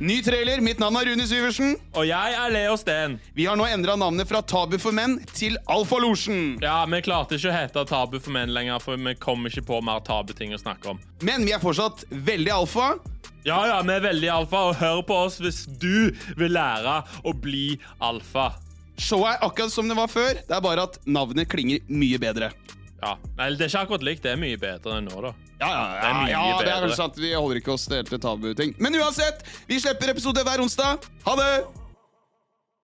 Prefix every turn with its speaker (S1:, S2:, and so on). S1: Ny trailer. Mitt navn er Rune Syversen.
S2: Og jeg er Leo Steen.
S1: Vi har nå endra navnet fra Tabu for menn til Alfalosjen.
S2: Ja, Vi klarte ikke å hete Tabu for menn lenger, for vi kom ikke på mer tabuting å snakke om.
S1: Men vi er fortsatt veldig alfa.
S2: Ja, ja, vi er veldig alfa, og hør på oss hvis du vil lære å bli alfa.
S1: Showet er akkurat som det var før, det er bare at navnet klinger mye bedre.
S2: Ja, Nei, det er ikke akkurat likt. Det er mye bedre enn nå, da.
S1: Ja, ja,
S2: Det er mye
S1: det er vel
S2: bedre.
S1: sant. Vi holder ikke oss til helt til tabuting. Men uansett, vi slipper episode hver onsdag. Ha det!